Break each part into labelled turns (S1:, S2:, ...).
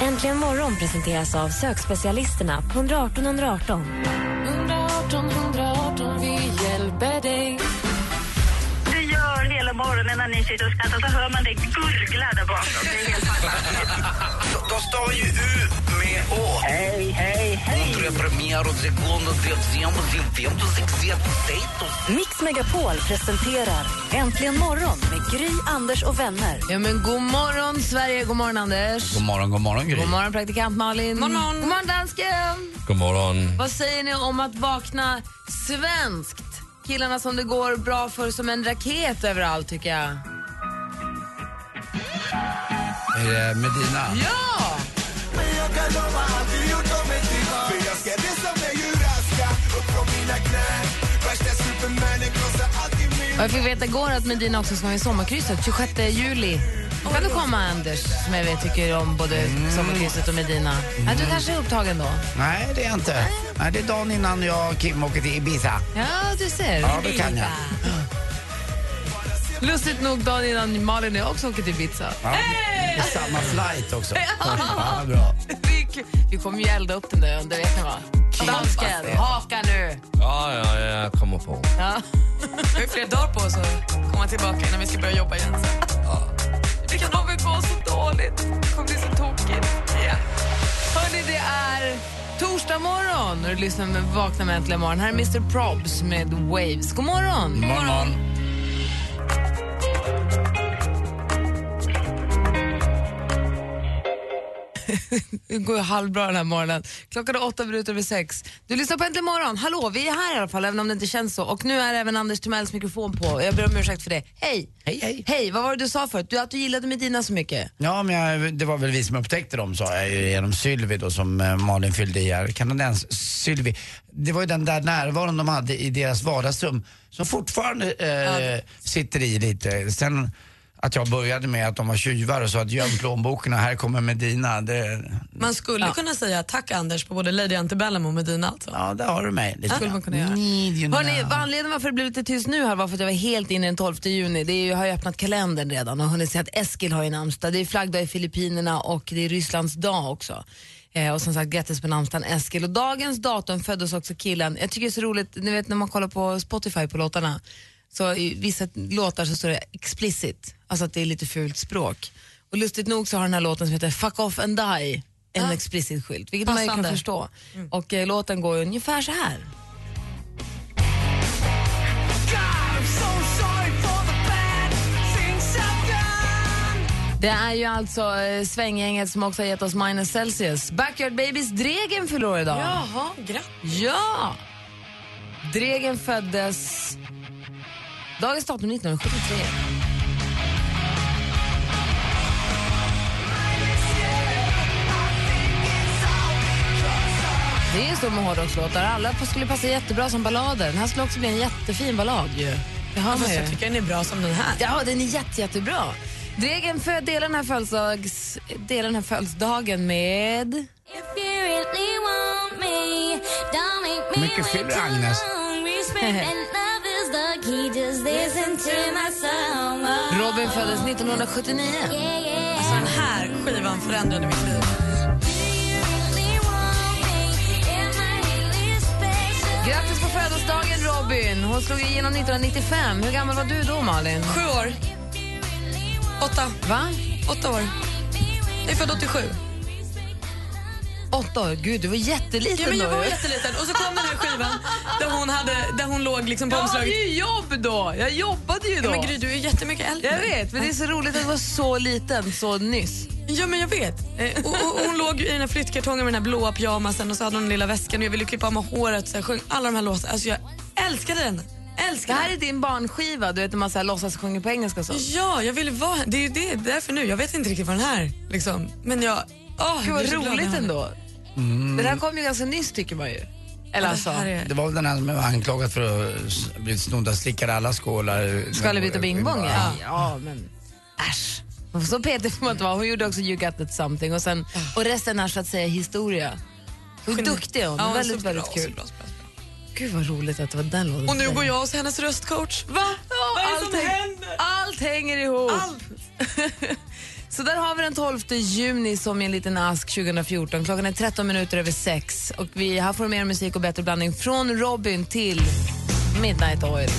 S1: Äntligen morgon presenteras av sökspecialisterna på 118 118.
S2: 118 118, vi hjälper dig.
S3: du gör hela morgonen när ni sitter och skrattar så hör man det gurgla där bakom. Det är helt fantastiskt.
S4: De stavar ju U med Å.
S3: Hej, hej,
S4: Kontra premiär och sekund och trettiofem och tjugofem och sextiofem och sexton.
S1: Mix Megapol presenterar Äntligen morgon med Gry, Anders och vänner.
S2: Ja, men god morgon, Sverige. God morgon, Anders.
S5: God morgon, god morgon Gry.
S2: God morgon, praktikant Malin. God morgon, god morgon dansken.
S5: God morgon.
S2: Vad säger ni om att vakna svenskt? Killarna som det går bra för som en raket överallt, tycker jag.
S5: Är det Medina?
S2: Ja! Och jag fick veta igår att Medina också ska vara i sommarkrysset 26 juli. Då kan du komma Anders, som jag vet tycker om både
S5: Mm.
S2: sommarkrysset och Medina. Ja, du kanske är upptagen då?
S5: Nej, det är jag inte. Nej, det är dagen innan jag och Kim åker till Ibiza.
S2: Ja, du ser.
S5: Ja, det kan jag.
S2: Lustigt nog dagen innan Malin och jag också åker till Ibiza.
S5: Ja, det är samma flight också. Ja, bra.
S2: Vi, vi kommer ju elda upp den där ön, det vet ni va?
S5: alltså.
S2: Dansken, haka nu!
S6: Ja, ja, ja, jag kommer på.
S2: Ja.
S7: Vi har flera dagar på oss att komma tillbaka innan vi ska börja jobba igen. sen. Det kan nog gå så dåligt. Det kommer bli så tokigt. igen.
S2: Hörni, det är torsdag morgon och du lyssnar med Vakna med Äntligen morgon. Här är Mr Probs med Waves. God morgon!
S5: God morgon.
S2: Det går ju halvbra den här morgonen. Klockan är åtta minuter över sex. Du lyssnar på Äntligen morgon. Hallå, vi är här i alla fall, även om det inte känns så. Och nu är även Anders Timells mikrofon på. Jag ber om ursäkt för det. Hej!
S5: Hej, hej.
S2: Hej, vad var det du sa förut? Du, att du gillade Medina så mycket?
S5: Ja, men jag, det var väl vi som upptäckte dem sa jag ju genom Sylvi då som eh, Malin fyllde i här. Kanadens Sylvi. Det var ju den där närvaron de hade i deras vardagsrum som fortfarande eh, sitter i lite. Sen att jag började med att de var tjuvar och sa att göm plånboken och här kommer Medina. Det,
S7: Man skulle kunna säga tack Anders på både Lady Antebellum och Medina. Alltså.
S5: ja, där har du mig. Lite
S7: skulle man kunna göra.
S2: Hörrni,
S5: Hörni,
S2: vad anledningen varför det blev lite tyst nu här var för att jag var helt inne den 12 juni. Det är ju, jag har ju öppnat kalendern redan och hunnit se att Eskil har ju namnsdag. Det är flaggdag i Filippinerna och det är Rysslands dag också. Eh, och som sagt, grattis på namnsdagen Eskil. Och dagens datum föddes också killen, jag tycker det är så roligt, ni vet när man kollar på Spotify på låtarna, så i vissa låtar så står det explicit, alltså att det är lite fult språk. Och lustigt nog så har den här låten som heter Fuck off and die en explicit skylt, vilket man ju
S7: Ah. Passande. Mm.
S2: kan förstå. Och eh, låten går ju ungefär så här. Det är ju alltså eh, svänggänget som också har gett oss Minus Celsius. Backyard Babies Dregen fyller år idag.
S7: Jaha, grattis.
S2: Ja! Dregen föddes... Dagens datum 1973. Det är ju så med hårdrockslåtar. Alla skulle passa jättebra som ballader. Den här skulle också bli en jättefin ballad ju. Det hör man
S7: Fast
S2: ju.
S7: Alltså, jag tycker den är bra som den här.
S2: Ja, den är jätte, jättebra. Dregen för att dela den här, födelsedags, dela den här födelsedagen med...
S5: Hur mycket fyller Agnes?
S2: Robin föddes 1979.
S7: Alltså, den här skivan förändrade mitt liv.
S2: Grattis på födelsedagen, Robin! Hon slog igenom 1995. Hur gammal var du då, Malin?
S7: Sju år. Åtta.
S2: Va?
S7: Åtta år. Jag är född 87.
S2: Åtta år? Gud, du var jätteliten
S7: Ja, men jag
S2: då.
S7: var jätteliten och så kom den här skivan där hon, hade, där hon låg liksom på
S2: jag hade
S7: omslaget.
S2: ju jobb då! Jag jobbade ju då.
S7: Ja, men Gry, du är jättemycket äldre.
S2: jag vet, men det är så roligt att du var så liten så nyss.
S7: Ja, men jag vet. Eh, och, och, hon låg ju i den här flyttkartongen med den här blåa pyjamasen och så hade hon den lilla väskan och jag ville klippa av mig håret så jag sjöng alla de här låtarna. Alltså jag älskade den.
S2: Det
S7: Älskade
S2: här
S7: den.
S2: är din barnskiva, du vet när man så här låtsas sjunga på engelska och så.
S7: Ja, jag ville vara Det är ju det, därför nu. Jag vet inte riktigt vad den här liksom. Men jag... Åh, jag
S2: Gud, vad
S7: blir så glad när
S2: roligt
S7: jag hör Mm. den.
S2: ändå. Det här kom ju ganska nyss tycker man ju. Eller
S5: Ja,
S2: alltså-
S5: det här är- Det var väl den här som var anklagad för att ha s- blivit snodd och slickade alla skålar.
S2: Skvallerbytta bingbong? Ja.
S5: Ja.
S2: ja, men äsch. Så Peter får man inte vara. Hon gjorde också You got that something och, sen, och resten är så att säga historia. Hur duktig är hon?
S7: Ah. Ja,
S2: väldigt,
S7: så bra,
S2: väldigt
S7: så
S2: kul.
S7: bra, så
S2: Gud vad roligt att det var den låten.
S7: Och nu går jag hos hennes röstcoach. Va?
S2: Ja,
S7: Vad är det
S2: allt
S7: som
S2: häng-
S7: händer?
S2: Allt hänger ihop.
S7: Allt.
S2: Så där har vi den 12 juni som i en liten ask 2014. Klockan är 13 minuter över 6 och vi här får du mer musik och bättre blandning från Robin till Midnight Oil.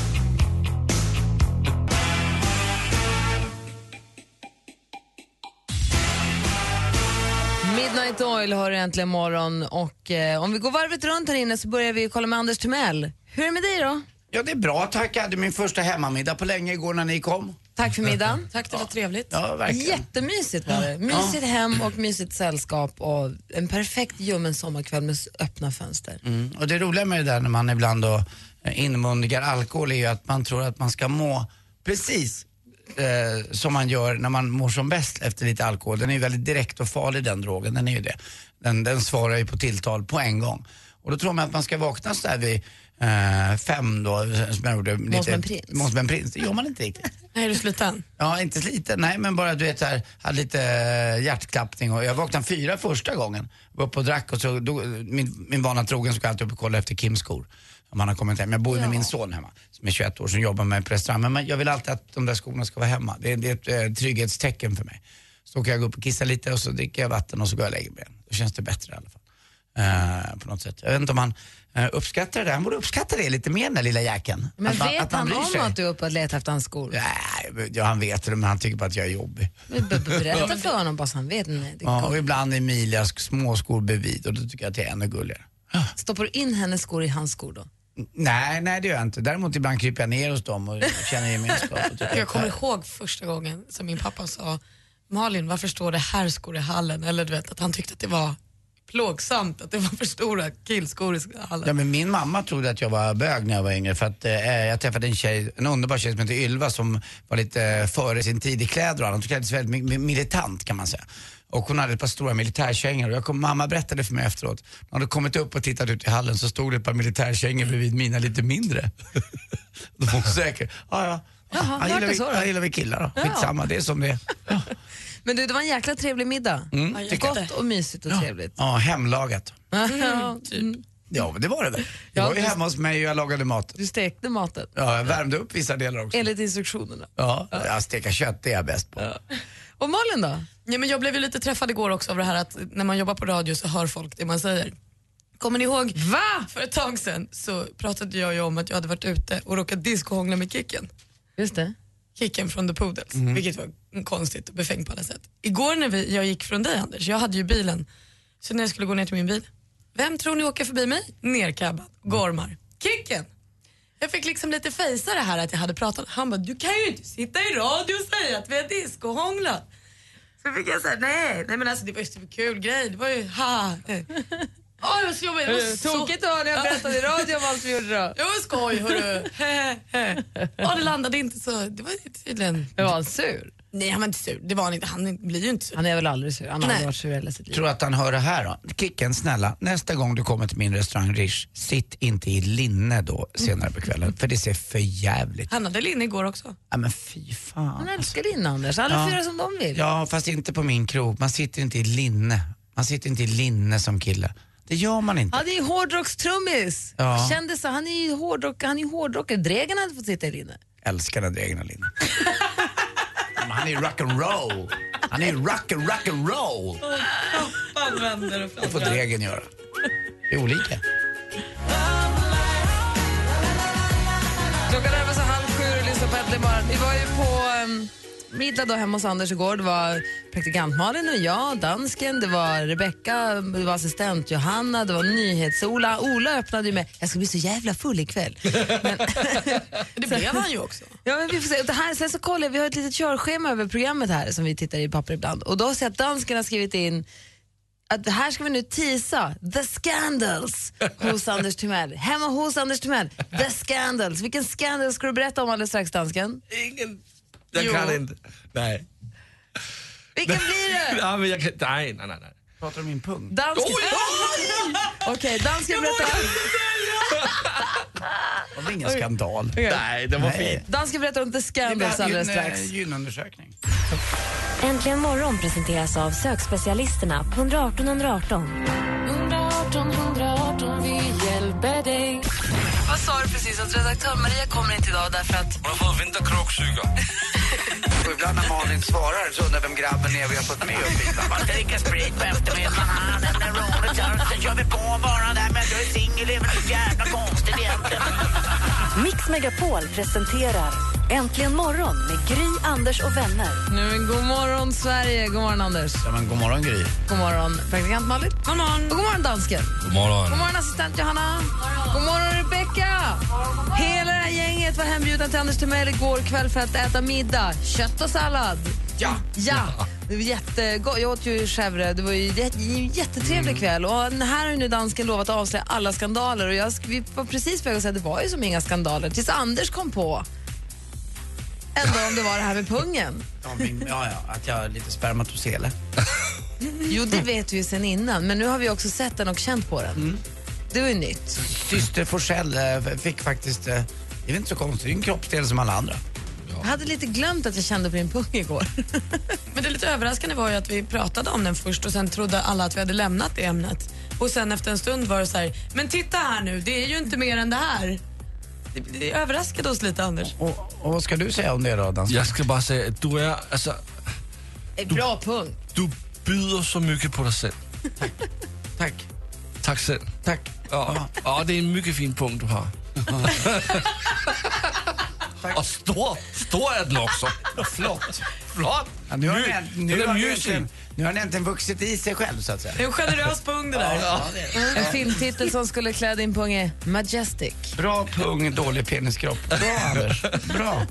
S2: Midnight Oil har du äntligen morgon och eh, om vi går varvet runt här inne så börjar vi kolla med Anders Timell. Hur är det med dig då?
S5: ja, det är bra tack. Jag hade min första hemmamiddag på länge igår när ni kom.
S2: Tack för middagen.
S7: Tack, det var trevligt.
S5: Ja, verkligen.
S2: Jättemysigt var det. Mysigt hem och mysigt sällskap och en perfekt ljummen sommarkväll med s- öppna fönster.
S5: Mm. Och det roliga med det där när man ibland då eh, inmundigar alkohol är ju att man tror att man ska må precis eh, som man gör när man mår som bäst efter lite alkohol. Den är ju väldigt direkt och farlig den drogen, den är ju det. Den, den svarar ju på tilltal på en gång. Och då tror man att man ska vakna så här vid eh, fem då, som jag gjorde. lite-
S2: som en prins.
S5: Må som en prins. Det gör man inte riktigt.
S7: Nej, är du sliten?
S5: Ja, inte sliten, nej men bara du vet så här, hade lite eh, hjärtklappning och jag vaknade fyra första gången. Var uppe och drack och så, då, min, min vana trogen så går jag alltid upp och kollar efter Kims skor. Om han har kommit hem. Jag bor ju med min son hemma som är 21 år som jobbar med mig på restaurang. Men man- jag vill alltid att de där skorna ska vara hemma. Det, är- det är ett eh, trygghetstecken för mig. Så kan jag gå upp och kissa lite och så dricker jag vatten och så går jag och lägger mig igen. Då känns det bättre i alla fall. Eh, på något sätt. Jag vet inte om han eh, uppskattar det där. Han borde uppskatta det lite mer den där lilla jäkeln.
S2: Men
S5: Att man-
S2: vet
S5: att man
S2: han
S5: bryr
S2: om
S5: sig.
S2: att du är uppe och letar efter hans skor?
S5: Nej, ja, han vet det men han tycker bara att jag är jobbig.
S2: B- b- Berätta för honom bara så han vet. Nej, det
S5: Ja,
S2: går.
S5: och ibland är Emilias småskor bredvid och då tycker jag att det är ännu gulligare.
S2: Stoppar du in hennes skor i hans skor då?
S5: N- Nej, nej det gör jag inte. Däremot ibland kryper jag ner hos dem och känner gemenskap. Och tycker
S7: Jag
S5: att
S7: kommer
S5: det här-
S7: ihåg första gången som min pappa sa Malin, varför står det här skor i hallen? Eller du vet, att han tyckte att det var plågsamt att det var för stora killskor i hallen.
S5: Ja, men min mamma trodde att jag var bög när jag var yngre för att eh, jag träffade en tjej, en underbar tjej som hette Ylva som var lite eh, före sin tid i kläder och annat. Hon klädde sig väldigt mi- mi- militant kan man säga. Och hon hade ett par stora militärkängor och jag kom, mamma berättade för mig efteråt. När hon hade kommit upp och tittat ut i hallen så stod det ett par militärkängor bredvid mina lite mindre. då var hon säker. Ja, ja.
S2: Jaha,
S5: han,
S2: vart
S5: gillar
S2: det
S5: vi,
S2: så då?
S5: han gillar vi killar då.
S2: Ja.
S5: Skitsamma, det är som det är. Ja,
S2: Men du, det var en jäkla trevlig middag.
S5: mm, tycker jag.
S2: Gott och mysigt och trevligt.
S5: ja hemlagat.
S2: Ja, mm.
S5: Ja, men det var det väl. Det
S2: Ja,
S5: var ju
S2: det-
S5: hemma hos mig och jag lagade maten.
S2: Du stekte maten
S5: Ja, jag värmde upp vissa delar också.
S2: enligt instruktionerna.
S5: Ja, ja steka kött det är jag bäst på.
S2: Och Malin då?
S7: Ja, men jag blev ju lite träffad igår också av det här att när man jobbar på radio så hör folk det man säger. Kommer ni ihåg? Va? För ett tag sedan så pratade jag ju om att jag hade varit ute och råkat diskohångla med Kicken.
S2: Just det.
S7: Kicken från The Poodles, vilket var konstigt och befängt på alla sätt. Igår när vi, jag gick från dig Anders, jag hade ju bilen, så när jag skulle gå ner till min bil, vem tror ni åker förbi mig? Nercabbad, gormar. Kicken! Jag fick liksom lite fejsa det här att jag hade pratat. Han bara, du kan ju inte sitta i radio och säga att vi har diskohånglat. Så fick jag säga nej, nej men alltså det var ju en kul grej, det var ju ha. Åh det var så jobbigt, det var så
S2: Eh, Tokigt att höra när jag berättade i radio om allt vi gjorde då.
S7: det var skoj hörru. Ja det landade inte så, det var tydligen
S2: Jag var sur.
S7: Nej, han var inte sur. Det var han inte. Han blir ju inte sur.
S2: Han är väl aldrig sur. Han har
S7: Nej.
S2: aldrig varit sur i hela sitt liv.
S5: Tror du att han hör det här då? Kicken, snälla, nästa gång du kommer till min restaurang Rish, sitt inte i linne då senare på kvällen, för det ser för jävligt.
S7: Han hade linne igår också.
S5: Ja men fy fan.
S2: Han älskar din Anders. Alla får
S5: Ja.
S2: göra som de vill.
S5: Ja, fast inte på min krog. Man sitter inte i linne. Man sitter inte i linne som kille. Det gör man inte.
S2: Han är ju hårdrockstrummis.
S5: Ja.
S2: Kändisar, han är ju hårdrock, han är ju hårdrockare. Dregen hade fått sitta i linne.
S5: Älskar den där egna linne. Men han är ju rock'n'roll. Han är ju rock and- rock'n'roll. Det får Dregen göra. Det är olika.
S2: Klockan närmar sig halv sju och lyssnar på Äntligen morgon. Vi var ju på um, middag då hemma hos Anders igår. Det var praktikant Malin och jag, dansken, det var Rebecka, det var assistent Johanna, det var nyhets-Ola. Ola öppnade ju med “Jag ska bli så jävla full ikväll”. Men,
S7: Det blev han ju också.
S2: Ja, men vi får se. Och Det här, sen så kollar jag, vi har ett litet körschema över programmet här som vi tittar i papper ibland. Och då ser jag att dansken har skrivit in att här ska vi nu tisa The Scandals hos Anders Timell. Hemma hos Anders Timell, The Scandals. Vilken scandal ska du berätta om alldeles strax, dansken?
S6: Ingen... Jag
S7: Jo.
S6: kan inte. Nej.
S2: Vilken blir det?
S6: Ja, men jag kan... Nej, nej, nej. nej.
S5: Pratar om min pung?
S2: Dansken, Oj! Okej, dansken berättar.
S5: var ingen skandal.
S6: Nej, det var fint.
S2: Dan ska berätta om The Scandals alldeles strax.
S5: eh, gynundersökning.
S1: Äntligen morgon presenteras av sökspecialisterna på 118 118.
S8: 118 118, vi hjälper dig.
S2: Vad sa du precis? Att redaktör Maria kommer inte idag därför att...
S4: Hon har fått vinda kråksuga. Och ibland när Malin svarar så undrar vem grabben är vi har fått med upp hit. Man dricker sprit på eftermiddagen, han är roligt. ja, Sen kör vi på bara där men du är singel, det är väl så jävla konstigt egentligen.
S9: Mix Megapol presenterar Äntligen morgon med Gry, Anders och vänner.
S2: Nu, men god morgon, Sverige. God morgon, Anders.
S5: Ja, men god morgon Gry.
S2: God morgon, praktikant Malin. God morgon. Och god morgon, dansken.
S6: God morgon.
S2: God morgon, assistent Johanna. God morgon, Rebecka. Hela det här gänget var hembjudna till Anders Timell igår kväll för att äta middag. Kött och sallad.
S5: Ja.
S2: Ja. Det var jättegott. Jag åt ju chèvre. Det var ju jät- en jättetrevlig kväll. Och här har ju nu dansken lovat att avslöja alla skandaler. Och jag sk- vi var precis på väg att säga att det var ju som inga skandaler. Tills Anders kom på ändå om det var det här med pungen.
S5: Ja, min, ja, ja, att jag är lite spermatosele.
S2: Jo, det vet vi ju sen innan, men nu har vi också sett den och känt på den. Det var ju nytt.
S5: Syster Forsell eh, fick faktiskt, eh, det är väl inte så konstigt, det är en kroppsdel som alla andra.
S2: Jag hade lite glömt att jag kände på din pung igår.
S7: Men det lite överraskande var ju att vi pratade om den först och sen trodde alla att vi hade lämnat det ämnet. Och sen efter en stund var det så här, men titta här nu, det är ju inte mer än det här. Det, det överraskade oss lite Anders.
S5: Och, och vad ska du säga om det då, dansken?
S6: Jag ska bara säga att du är, alltså,
S2: En bra pung.
S6: du bjuder så mycket på dig själv.
S5: Tack.
S6: Tack själv.
S5: Tack.
S6: Ja. ja, det är en mycket fin punkt du har. Och stor, stor är den också. Flott. Flott.
S5: Ja, nu, har ni, änt-
S6: den
S5: nu,
S6: är
S5: har ni
S6: mysig.
S5: äntligen, nu har ni äntligen vuxit i sig själv så att säga.
S7: Det är en generös pung det där.
S5: Ja, det är det.
S2: En filmtitel som skulle klä din pung är Majestic.
S5: Bra pung, dålig peniskropp. Bra Anders. Bra.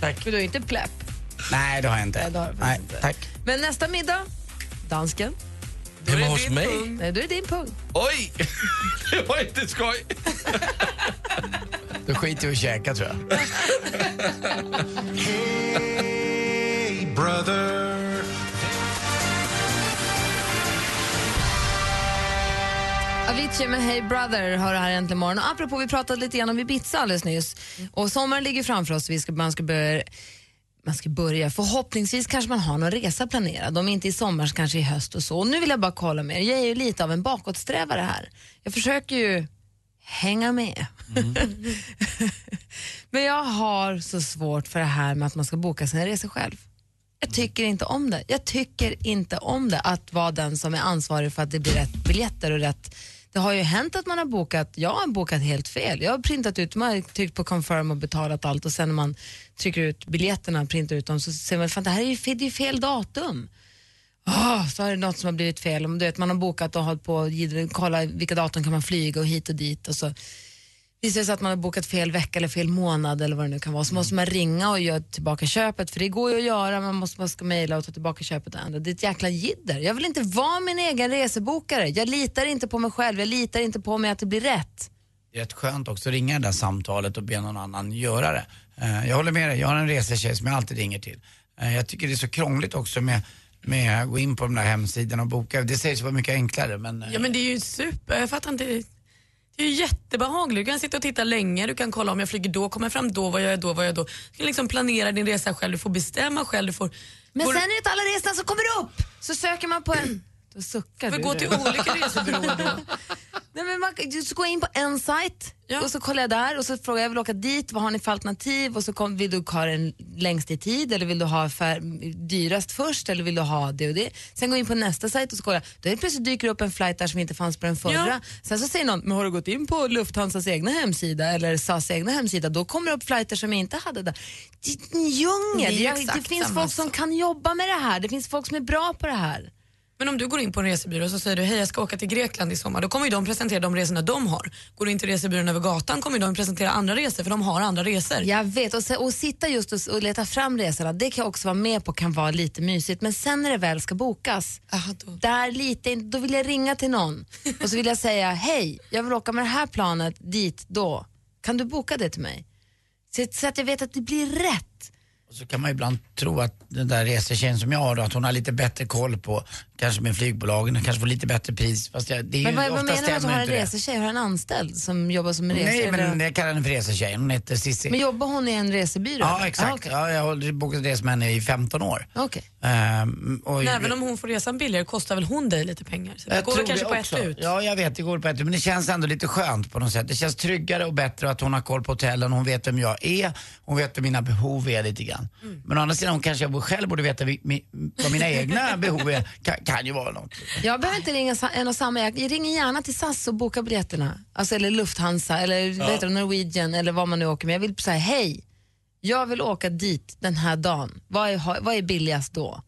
S2: För du är inte pläpp.
S5: Nej, det har jag
S2: Nej, det har
S5: inte.
S2: jag faktiskt
S5: Nej, tack.
S2: Men nästa middag, dansken.
S6: Hemma hos mig?
S2: Nej, då är det din pung.
S6: Oj! Det var inte skoj.
S5: Då skiter vi i att käka tror jag.
S2: Avicii med Hey Brother har det här äntligen morgon. Och apropå, vi pratade lite grann om Ibiza alldeles nyss. Och sommaren ligger framför oss. Vi ska, man, ska börja, man ska börja. Förhoppningsvis kanske man har någon resa planerad. Om inte i sommar så kanske i höst och så. Och nu vill jag bara kolla med er. Jag är ju lite av en bakåtsträvare här. Jag försöker ju hänga med. Men jag har så svårt för det här med att man ska boka sina resor själv. Jag tycker inte om det. Jag tycker inte om det att vara den som är ansvarig för att det blir rätt biljetter och rätt. Det har ju hänt att man har bokat, jag har bokat helt fel. Jag har printat ut, man har tryckt på confirm och betalat allt och sen när man trycker ut biljetterna och printar ut dem så ser man, fan det här är ju fel, det är ju fel datum. Åh, så har det något som har blivit fel. Om Du vet, man har bokat och hållit på och gid- kolla vilka datum kan man flyga och hit och dit och så visar det sig att man har bokat fel vecka eller fel månad eller vad det nu kan vara så måste man ringa och göra tillbaka köpet för det går ju att göra, man måste man ska mejla och ta tillbaka köpet och ändra. Det är ett jäkla jidder. Jag vill inte vara min egen resebokare. Jag litar inte på mig själv, jag litar inte på mig att det blir rätt.
S5: Det är rätt skönt också att ringa det där samtalet och be någon annan göra det. Eh, Jag håller med dig, jag har en resetjej som jag alltid ringer till. Eh, Jag tycker det är så krångligt också med, med att gå in på de där hemsidorna och boka. Det sägs vara mycket enklare men... eh,
S7: Ja men det är ju super, jag fattar inte. Det är ju jättebehagligt. Du kan sitta och titta länge, du kan kolla om jag flyger då, kommer jag fram då, vad gör jag då, vad gör jag då. Du kan liksom planera din resa själv, du får bestämma själv, du får...
S2: Men
S7: går-
S2: sen är det inte alla resorna som kommer upp! Så söker man på en... Då suckar
S7: får
S2: du.
S7: gå till
S2: redan.
S7: olika resebyråer då.
S2: Nej, men man, du ska gå in på en sajt och så kollar jag där och så frågar jag, jag vill åka dit, vad har ni för alternativ? Och så kom, vill du ha den längst i tid eller vill du ha fär, dyrast först eller vill du ha det och det? Sen går jag in på nästa sajt och så kollar jag, då är det plötsligt dyker det upp en flight där som inte fanns på den förra.
S7: Ja.
S2: Sen så säger någon, men har du gått in på Lufthansas egna hemsida eller SAS egna hemsida? Då kommer det upp flighter som jag inte hade där. Det är en djungel,
S7: Det är
S2: det, det,
S7: exakt
S2: finns
S7: samma
S2: folk som kan jobba med det här, det finns folk som är bra på det här.
S7: Men om du går in på en resebyrå och så säger du hej jag ska åka till Grekland i sommar, då kommer ju de presentera de resorna de har. Går du in till resebyrån över gatan kommer ju de presentera andra resor för de har andra resor.
S2: Jag vet, och, se- och sitta just och, s- och leta fram resorna, det kan jag också vara med på kan vara lite mysigt. Men sen när det väl ska bokas, där lite, in- då vill jag ringa till någon och så vill jag säga hej, jag vill åka med det här planet dit då. Kan du boka det till mig? Så, så att jag vet att det blir rätt.
S5: Och så kan man ibland tro att den där resetjejen som jag har då, att hon har lite bättre koll på kanske med flygbolagen, jag kanske får lite bättre pris. Fast jag, det är
S2: Men vad,
S5: ju,
S2: vad
S5: ofta
S2: menar du med att du har
S5: stämmer
S2: en
S5: inte det.
S2: resetjej? Har du en anställd som jobbar som rese?
S5: Nej,
S2: eller-
S5: men jag kallar henne för resetjej. Hon heter Cissi.
S2: men jobbar hon i en resebyrå?
S5: Ja,
S2: eller?
S5: exakt.
S2: okej.
S5: Ja, jag har bokat resor med henne i 15 år.
S2: Okej.
S5: Ehm, och-
S7: Men även om hon får resan billigare kostar väl hon dig lite pengar? Så det
S5: Jag
S7: går
S5: tror
S7: väl kanske
S5: det
S7: på ett
S5: också.
S7: ut?
S5: Ja, jag vet, det går på ett ut. Men det känns ändå lite skönt på något sätt. Det känns tryggare och bättre att hon har koll på hotellen. Hon vet vem jag är. Hon vet vad mina behov är lite grann.
S7: Mm.
S5: Men å andra sidan, hon kanske jag själv borde veta vi- mi- vad mina egna behov är. Kan, kan ju vara något.
S2: Jag behöver inte ringa sa- en och samma. Jag ringer gärna till SAS och bokar biljetterna. Alltså, eller Lufthansa, eller
S5: Ja.
S2: vad heter det, Norwegian eller vad man nu åker med. Jag vill säga hej, jag vill åka dit den här dagen. Vad är, ha- vad är billigast då?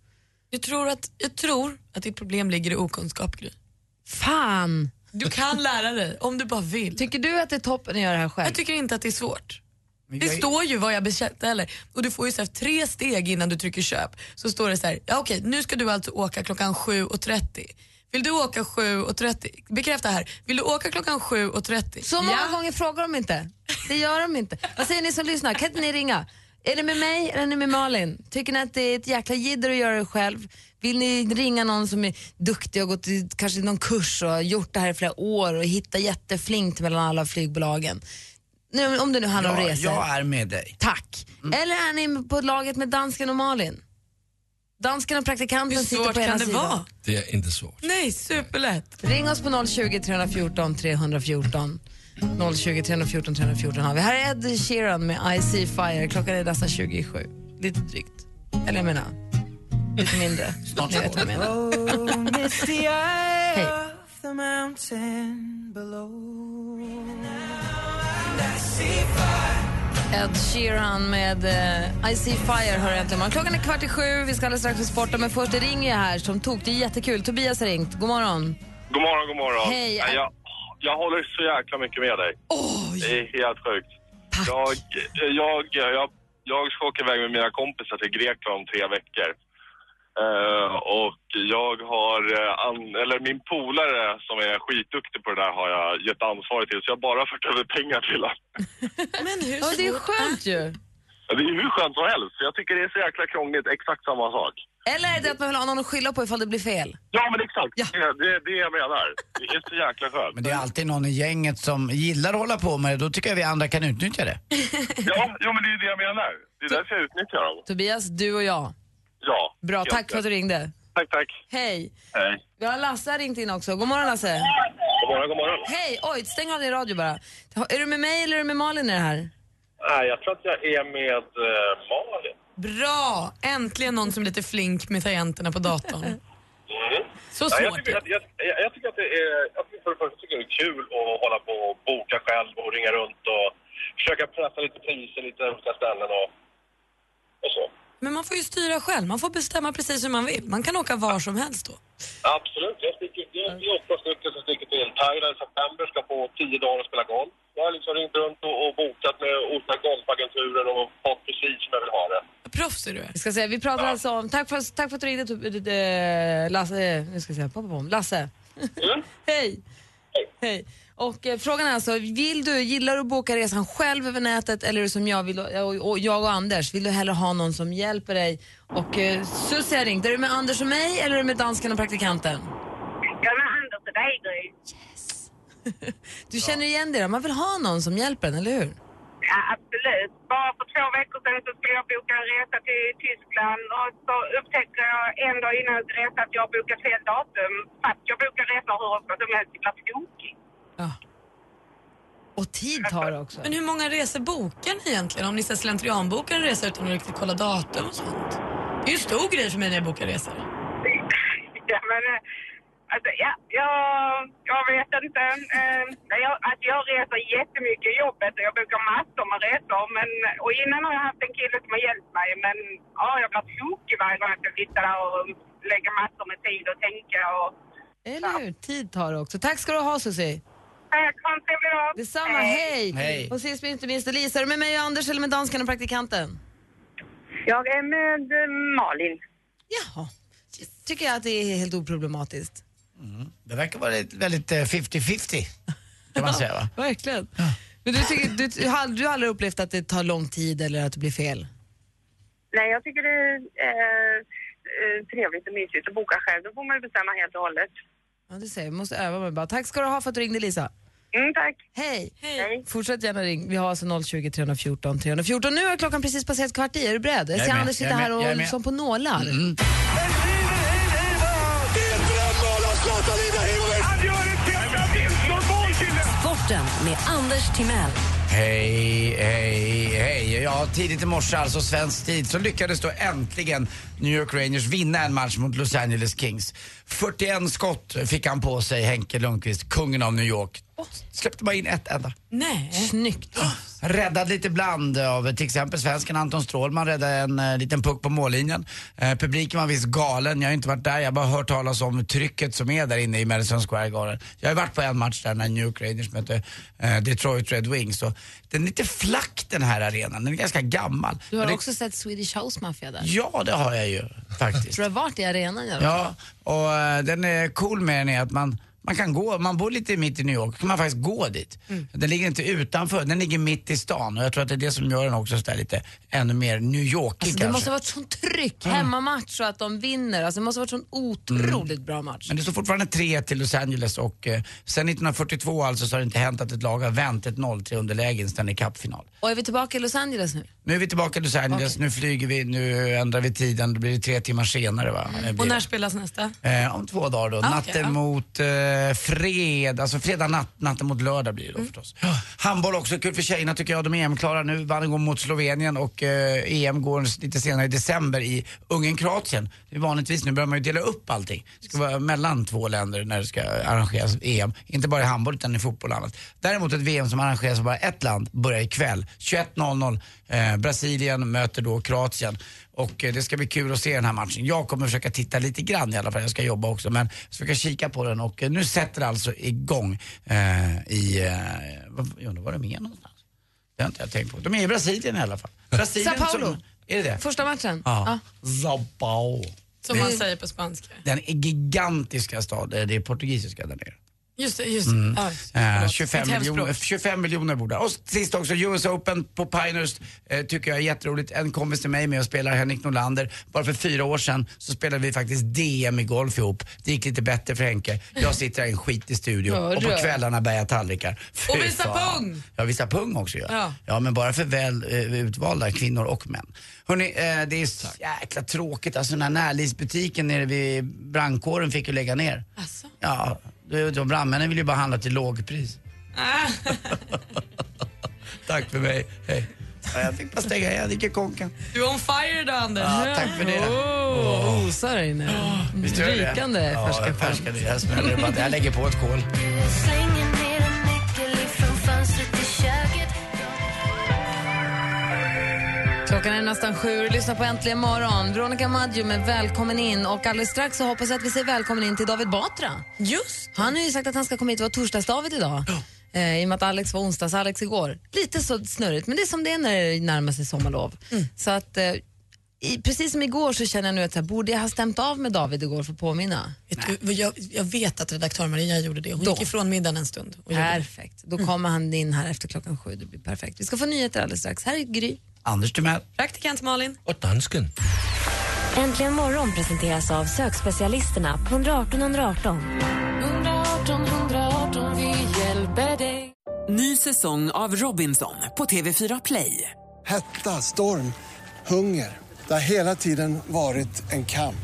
S7: Jag tror, att, jag tror att ditt problem ligger i okunskap, Gry.
S2: Fan!
S7: Du kan lära dig om du bara vill.
S2: Tycker du att det är toppen att göra det här själv?
S7: Jag tycker inte att det är svårt.
S2: Men
S7: Det
S2: jag är-
S7: står ju vad jag beställer och du får ju så här tre steg innan du trycker köp. Så står det så här, ja okej nu ska du alltså åka klockan 7.30. Vill du åka 7.30? Bekräfta här, vill du åka klockan 7.30?
S2: Så många
S7: ja.
S2: gånger frågar de inte. Det gör de inte. Vad säger ni som lyssnar? Kan inte ni ringa? Är det med mig eller är det med Malin? Tycker ni att det är ett jäkla jidder att göra det själv? Vill ni ringa någon som är duktig och gått i kanske någon kurs och har gjort det här i flera år och hitta jätteflinkt mellan alla flygbolagen? Nu, om det nu handlar om
S5: Jag,
S2: resor.
S5: jag är med dig.
S2: Tack. Eller är ni på laget med dansken och Malin? Dansken och praktikanten
S7: Hur
S2: sitter
S7: svårt
S2: på ena
S7: kan det
S2: sidan.
S7: vara?
S6: Det är inte svårt.
S7: Nej, superlätt.
S2: Ring oss på 020 314 314. 020 314 314 har vi. Här är Ed Sheeran med I See Fire. Klockan är nästan 27. Lite drygt. Eller jag menar, lite mindre. Snart vet vad jag menar. Hej. Ed Sheeran med eh, I see fire hör jag äntligen morgon. Klockan är kvart i sju, vi ska alldeles strax få sporta men först det ringer jag här som tok. Det är jättekul. Tobias har ringt. God morgon.
S10: God morgon, god morgon.
S2: Hej.
S10: Nej, Jag, jag håller så jäkla mycket med dig. Det är helt sjukt. Jag, jag, jag, jag ska åka iväg med mina kompisar till Grekland om tre veckor. Eh, och jag har, eh, an, eller min polare som är skitduktig på det där har jag gett ansvaret till, så jag har bara fört över pengar till honom.
S7: Men hur
S2: ja, det är skönt ju.
S10: Ja, Det är hur skönt som helst, jag tycker det är så jäkla krångligt, exakt samma sak.
S2: Eller är det att man vill ha någon att skylla på ifall det blir fel?
S10: Ja men exakt, det, det är det jag menar. Det är så jäkla skönt.
S5: Men det är alltid någon i gänget som gillar att hålla på med det. Då tycker jag vi andra kan utnyttja det.
S10: Ja, jo, men det är det jag menar. Det är därför jag utnyttjar dem.
S2: Tobias, du och jag.
S10: Ja.
S2: Bra, tack för att du ringde.
S10: Tack, tack.
S2: Hej.
S10: Hej.
S2: Vi har Lasse har ringt in också. God morgon Lasse.
S10: God morgon, god morgon.
S2: Hej. Oj, stäng av din radio bara. Ha- Är du med mig eller är du med Malin i det här?
S10: Nej, jag tror att jag är med eh, Malin.
S7: Bra! Äntligen någon som är lite flink med tangenterna på datorn. Så
S10: Mm. Nej, jag,
S7: svårt.
S10: tycker, jag, jag, jag, jag tycker att det är, jag tycker för det första tycker jag det är kul att hålla på och boka själv och ringa runt och försöka pressa lite priser lite olika ställen och, och så.
S7: Men man får ju styra själv, man får bestämma precis hur man vill. Man kan åka var som helst då.
S10: Absolut, jag sticker, det är det är åtta stycken som sticker till Thailand i september, ska på tio dagar och spela golf. Jag har liksom ringt runt och, och bokat med olika golfagenturer och fått precis som jag vill ha det.
S7: Proffs är du.
S2: Vi ska säga, vi pratar alltså om... Tack för, tack för att du ringde Tob- eh, Lasse. eh, Nu ska jag säga, pom, pom, pom. Lasse.
S10: Mm.
S2: Hej. Hej. Och eh, frågan är alltså, vill du, gillar du att boka resan själv över nätet eller är du som jag, vill, och, och, jag och Anders, vill du hellre ha någon som hjälper dig? Och eh, Susie har ringt, är du med Anders och mig eller är du med dansken och praktikanten?
S3: Jag är Anders och dig, Gry.
S2: Du känner igen det då? man vill ha någon som hjälper en, eller hur?
S3: Ja, absolut. Bara för två veckor sedan så skulle jag boka en resa till Tyskland och så upptäcker jag en dag innan jag resa att jag har bokat fel datum. Fast jag bokar resor hur ofta som helst till Platskoki.
S2: Och tid tar det också.
S7: Men hur många resor bokar ni egentligen? Om ni så här slentrianbokar en resa utan att riktigt kolla datum och sånt. Det är ju en stor grej för mig när jag bokar resor.
S3: Ja, men eh, alltså, ja, jag, jag vet inte. Eh, men jag, alltså, jag reser jättemycket i jobbet och jag bokar massor med resor. Men, och innan har jag haft en kille som har hjälpt mig. Men ja, jag blir tokig varje gång jag ska sitta där och lägga massor med tid och tänka. Och,
S2: Eller hur? Tid tar det också. Tack ska du ha Susie.
S3: Tack, ha en trevlig dag.
S2: Detsamma, hej. Och sist men inte minst Elisa, är du med mig och Anders eller med dansken och praktikanten?
S3: Jag är med eh, Malin.
S2: Jaha. Tycker jag att det är helt oproblematiskt.
S5: Det verkar vara ett väldigt eh, 50-50. Kan man säga va?
S2: Verkligen. Men du, tycker, du, du, har- du har aldrig upplevt att det tar lång tid eller att det blir fel?
S3: Nej, jag tycker det, eh, eh, trevligt och mysigt att boka själv. Då får man ju bestämma helt och hållet.
S2: Ja, du ser, vi måste öva mig bara. Tack ska du ha för att du ringde Lisa.
S3: Mm, tack.
S2: Hej. Fortsätt gärna ring. Vi har alltså 020 314 314. Nu har klockan precis passerat kvart i. Är du beredd?
S3: är
S2: Jag ser
S3: med,
S2: Anders
S3: jag
S2: sitta
S3: är
S2: här
S3: med, jag är
S2: och
S3: med. Mm.
S2: som på nålar.
S9: Sporten med Anders Timell.
S5: Hej, hej, hej. Ja, tidigt i morse, alltså svensk tid, så lyckades då äntligen New York Rangers vinna en match mot Los Angeles Kings. 41 skott fick han på sig, Henke Lundqvist, kungen av New York. Släppte bara in ett enda.
S2: Nej. Snyggt.
S5: Räddad lite bland av till exempel svensken Anton Strålman räddade en eh, liten puck på mållinjen. Eh, publiken var visst galen, jag har inte varit där, jag har bara hört talas om trycket som är där inne i Madison Square Garden. Jag har ju varit på en match där när New York Rangers mötte eh, Detroit Red Wings. Så den är lite flack den här arenan, den är ganska gammal.
S2: Du har
S5: Men det,
S2: också sett Swedish House Mafia där.
S5: Ja, det har jag ju faktiskt.
S2: Tror du jag har varit i arenan? i alla fall?
S5: Ja, och eh, den är cool med den är att man, man kan gå, man bor lite mitt i New York, kan man faktiskt gå dit.
S2: Mm.
S5: Den ligger inte utanför, den ligger mitt i stan och jag tror att det är det som gör den också så där lite ännu mer New Yorkig
S2: Alltså, det
S5: kanske.
S2: måste ha varit sånt tryck, hemmamatch och att de vinner. Alltså, det måste ha varit sån otroligt bra match.
S5: Mm. Men det står fortfarande 3 till Los Angeles och eh, sen 1942 alltså så har det inte hänt att ett lag har vänt ett 0-3 underläge i en Stanley Cup-final.
S2: Och är vi tillbaka i Los Angeles nu?
S5: Nu är vi tillbaka i Los Angeles, nu flyger vi, nu ändrar vi tiden, då blir det tre timmar senare va?
S2: Mm.
S5: Det blir
S7: Och
S5: det.
S7: när spelas nästa?
S5: Eh, om två dagar då.
S7: Ah,
S5: natten
S7: okej, ja.
S5: mot eh, fredag, alltså fredag natt, natten mot lördag blir det då
S7: Mm.
S5: förstås. Handboll också, kul för tjejerna tycker jag. De är EM-klara nu, vann igår mot Slovenien och eh, EM går lite senare i december i Ungern-Kroatien. Det är vanligtvis, nu börjar man ju dela upp allting. Det ska vara mellan två länder när det ska arrangeras EM. Inte bara i handboll utan i fotboll och annat. Däremot ett VM som arrangeras av bara ett land börjar ikväll. 21.00, eh, Brasilien möter då Kroatien. Och eh, det ska bli kul att se den här matchen. Jag kommer försöka titta lite grann i alla fall, jag ska jobba också. Men jag ska kika på den och eh, nu sätter det alltså igång eh, i... Eh, vad, jag undrar var de är någonstans? Det har inte jag tänkt på. De är i Brasilien i alla fall. Brasilien
S2: Sao Paulo.
S5: Som, är det det?
S2: Första matchen?
S5: Ja. Sao Paulo.
S7: Som
S5: Det-
S7: man säger på spanska.
S5: Den är gigantiska staden, det är portugisiska där nere.
S7: Just det, just det.
S5: Mm.
S7: Ja,
S5: Eh,
S7: förlåt.
S5: 25,
S7: Ett hemspråk.
S5: miljoner, 25 miljoner borde Och sist också US Open på Pinehurst eh, tycker jag är jätteroligt. En kompis till mig med och spelar, Henrik Norlander. Bara för fyra år sedan så spelade vi faktiskt DM i golf ihop. Det gick lite bättre för Henke. Jag sitter här i en skitig studio
S7: Hörru.
S5: och på kvällarna bär jag tallrikar. Fy
S7: Och visar
S5: fan.
S7: pung.
S5: Ja, visar pung också ja.
S7: Ja.
S5: ja. men bara för väl eh, utvalda kvinnor och män. Hörrni, eh, det är så jäkla tråkigt. Alltså den här närlivsbutiken nere vid brandkåren fick ju lägga ner.
S7: Alltså.
S5: Ja, de de brandmännen vill ju bara handla till lågpris.
S7: Ah.
S5: Tack för mig, hej. Ja, jag fick bara stänga, jag dricker konkan.
S7: Du är on fire idag Anders.
S5: Ja, tack för det.
S2: Oh, osar där inne. Mm.
S5: Visst gör det?
S2: Rykande
S5: ja,
S2: färska
S5: jag färska det. Jag smäller bara, jag lägger på ett kol.
S8: Slänger ner en nyckel ifrån fönstret i köket
S2: Klockan är nästan sju och lyssna på Äntligen morgon. Veronica Maggio med Välkommen in. Och alldeles strax så hoppas jag att vi säger välkommen in till David Batra.
S7: Just
S2: Han har ju sagt att han ska komma hit och vara torsdags-David idag. Eh, I och med att Alex var onsdags-Alex igår. Lite så snurrigt, men det är som det är när det närmar sig sommarlov. Så att, eh, i, precis som igår så känner jag nu att så här, borde jag ha stämt av med David igår för att påminna?
S7: Vet du, jag, jag vet att redaktör Maria gjorde det. Hon
S2: Då.
S7: gick ifrån middagen en stund. Och gjorde det.
S2: Perfekt. Då kommer han in här efter klockan sju. Det blir perfekt. Vi ska få nyheter alldeles strax. Här är Gry.
S5: Anders Timell.
S7: Praktikant Malin.
S6: Och dansken.
S1: Äntligen morgon presenteras av sökspecialisterna på 118 118.
S8: 118 118 vi hjälper dig
S11: Ny säsong av Robinson på TV4 Play.
S12: Hetta, storm, hunger. Det har hela tiden varit en kamp.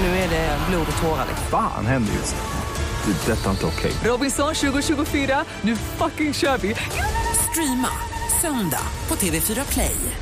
S11: Nu är det blod och tårar.
S13: Fan händer just det. Det är detta inte okej.
S11: Robinson 2024, nu fucking kör vi! Streama söndag på TV4 Play.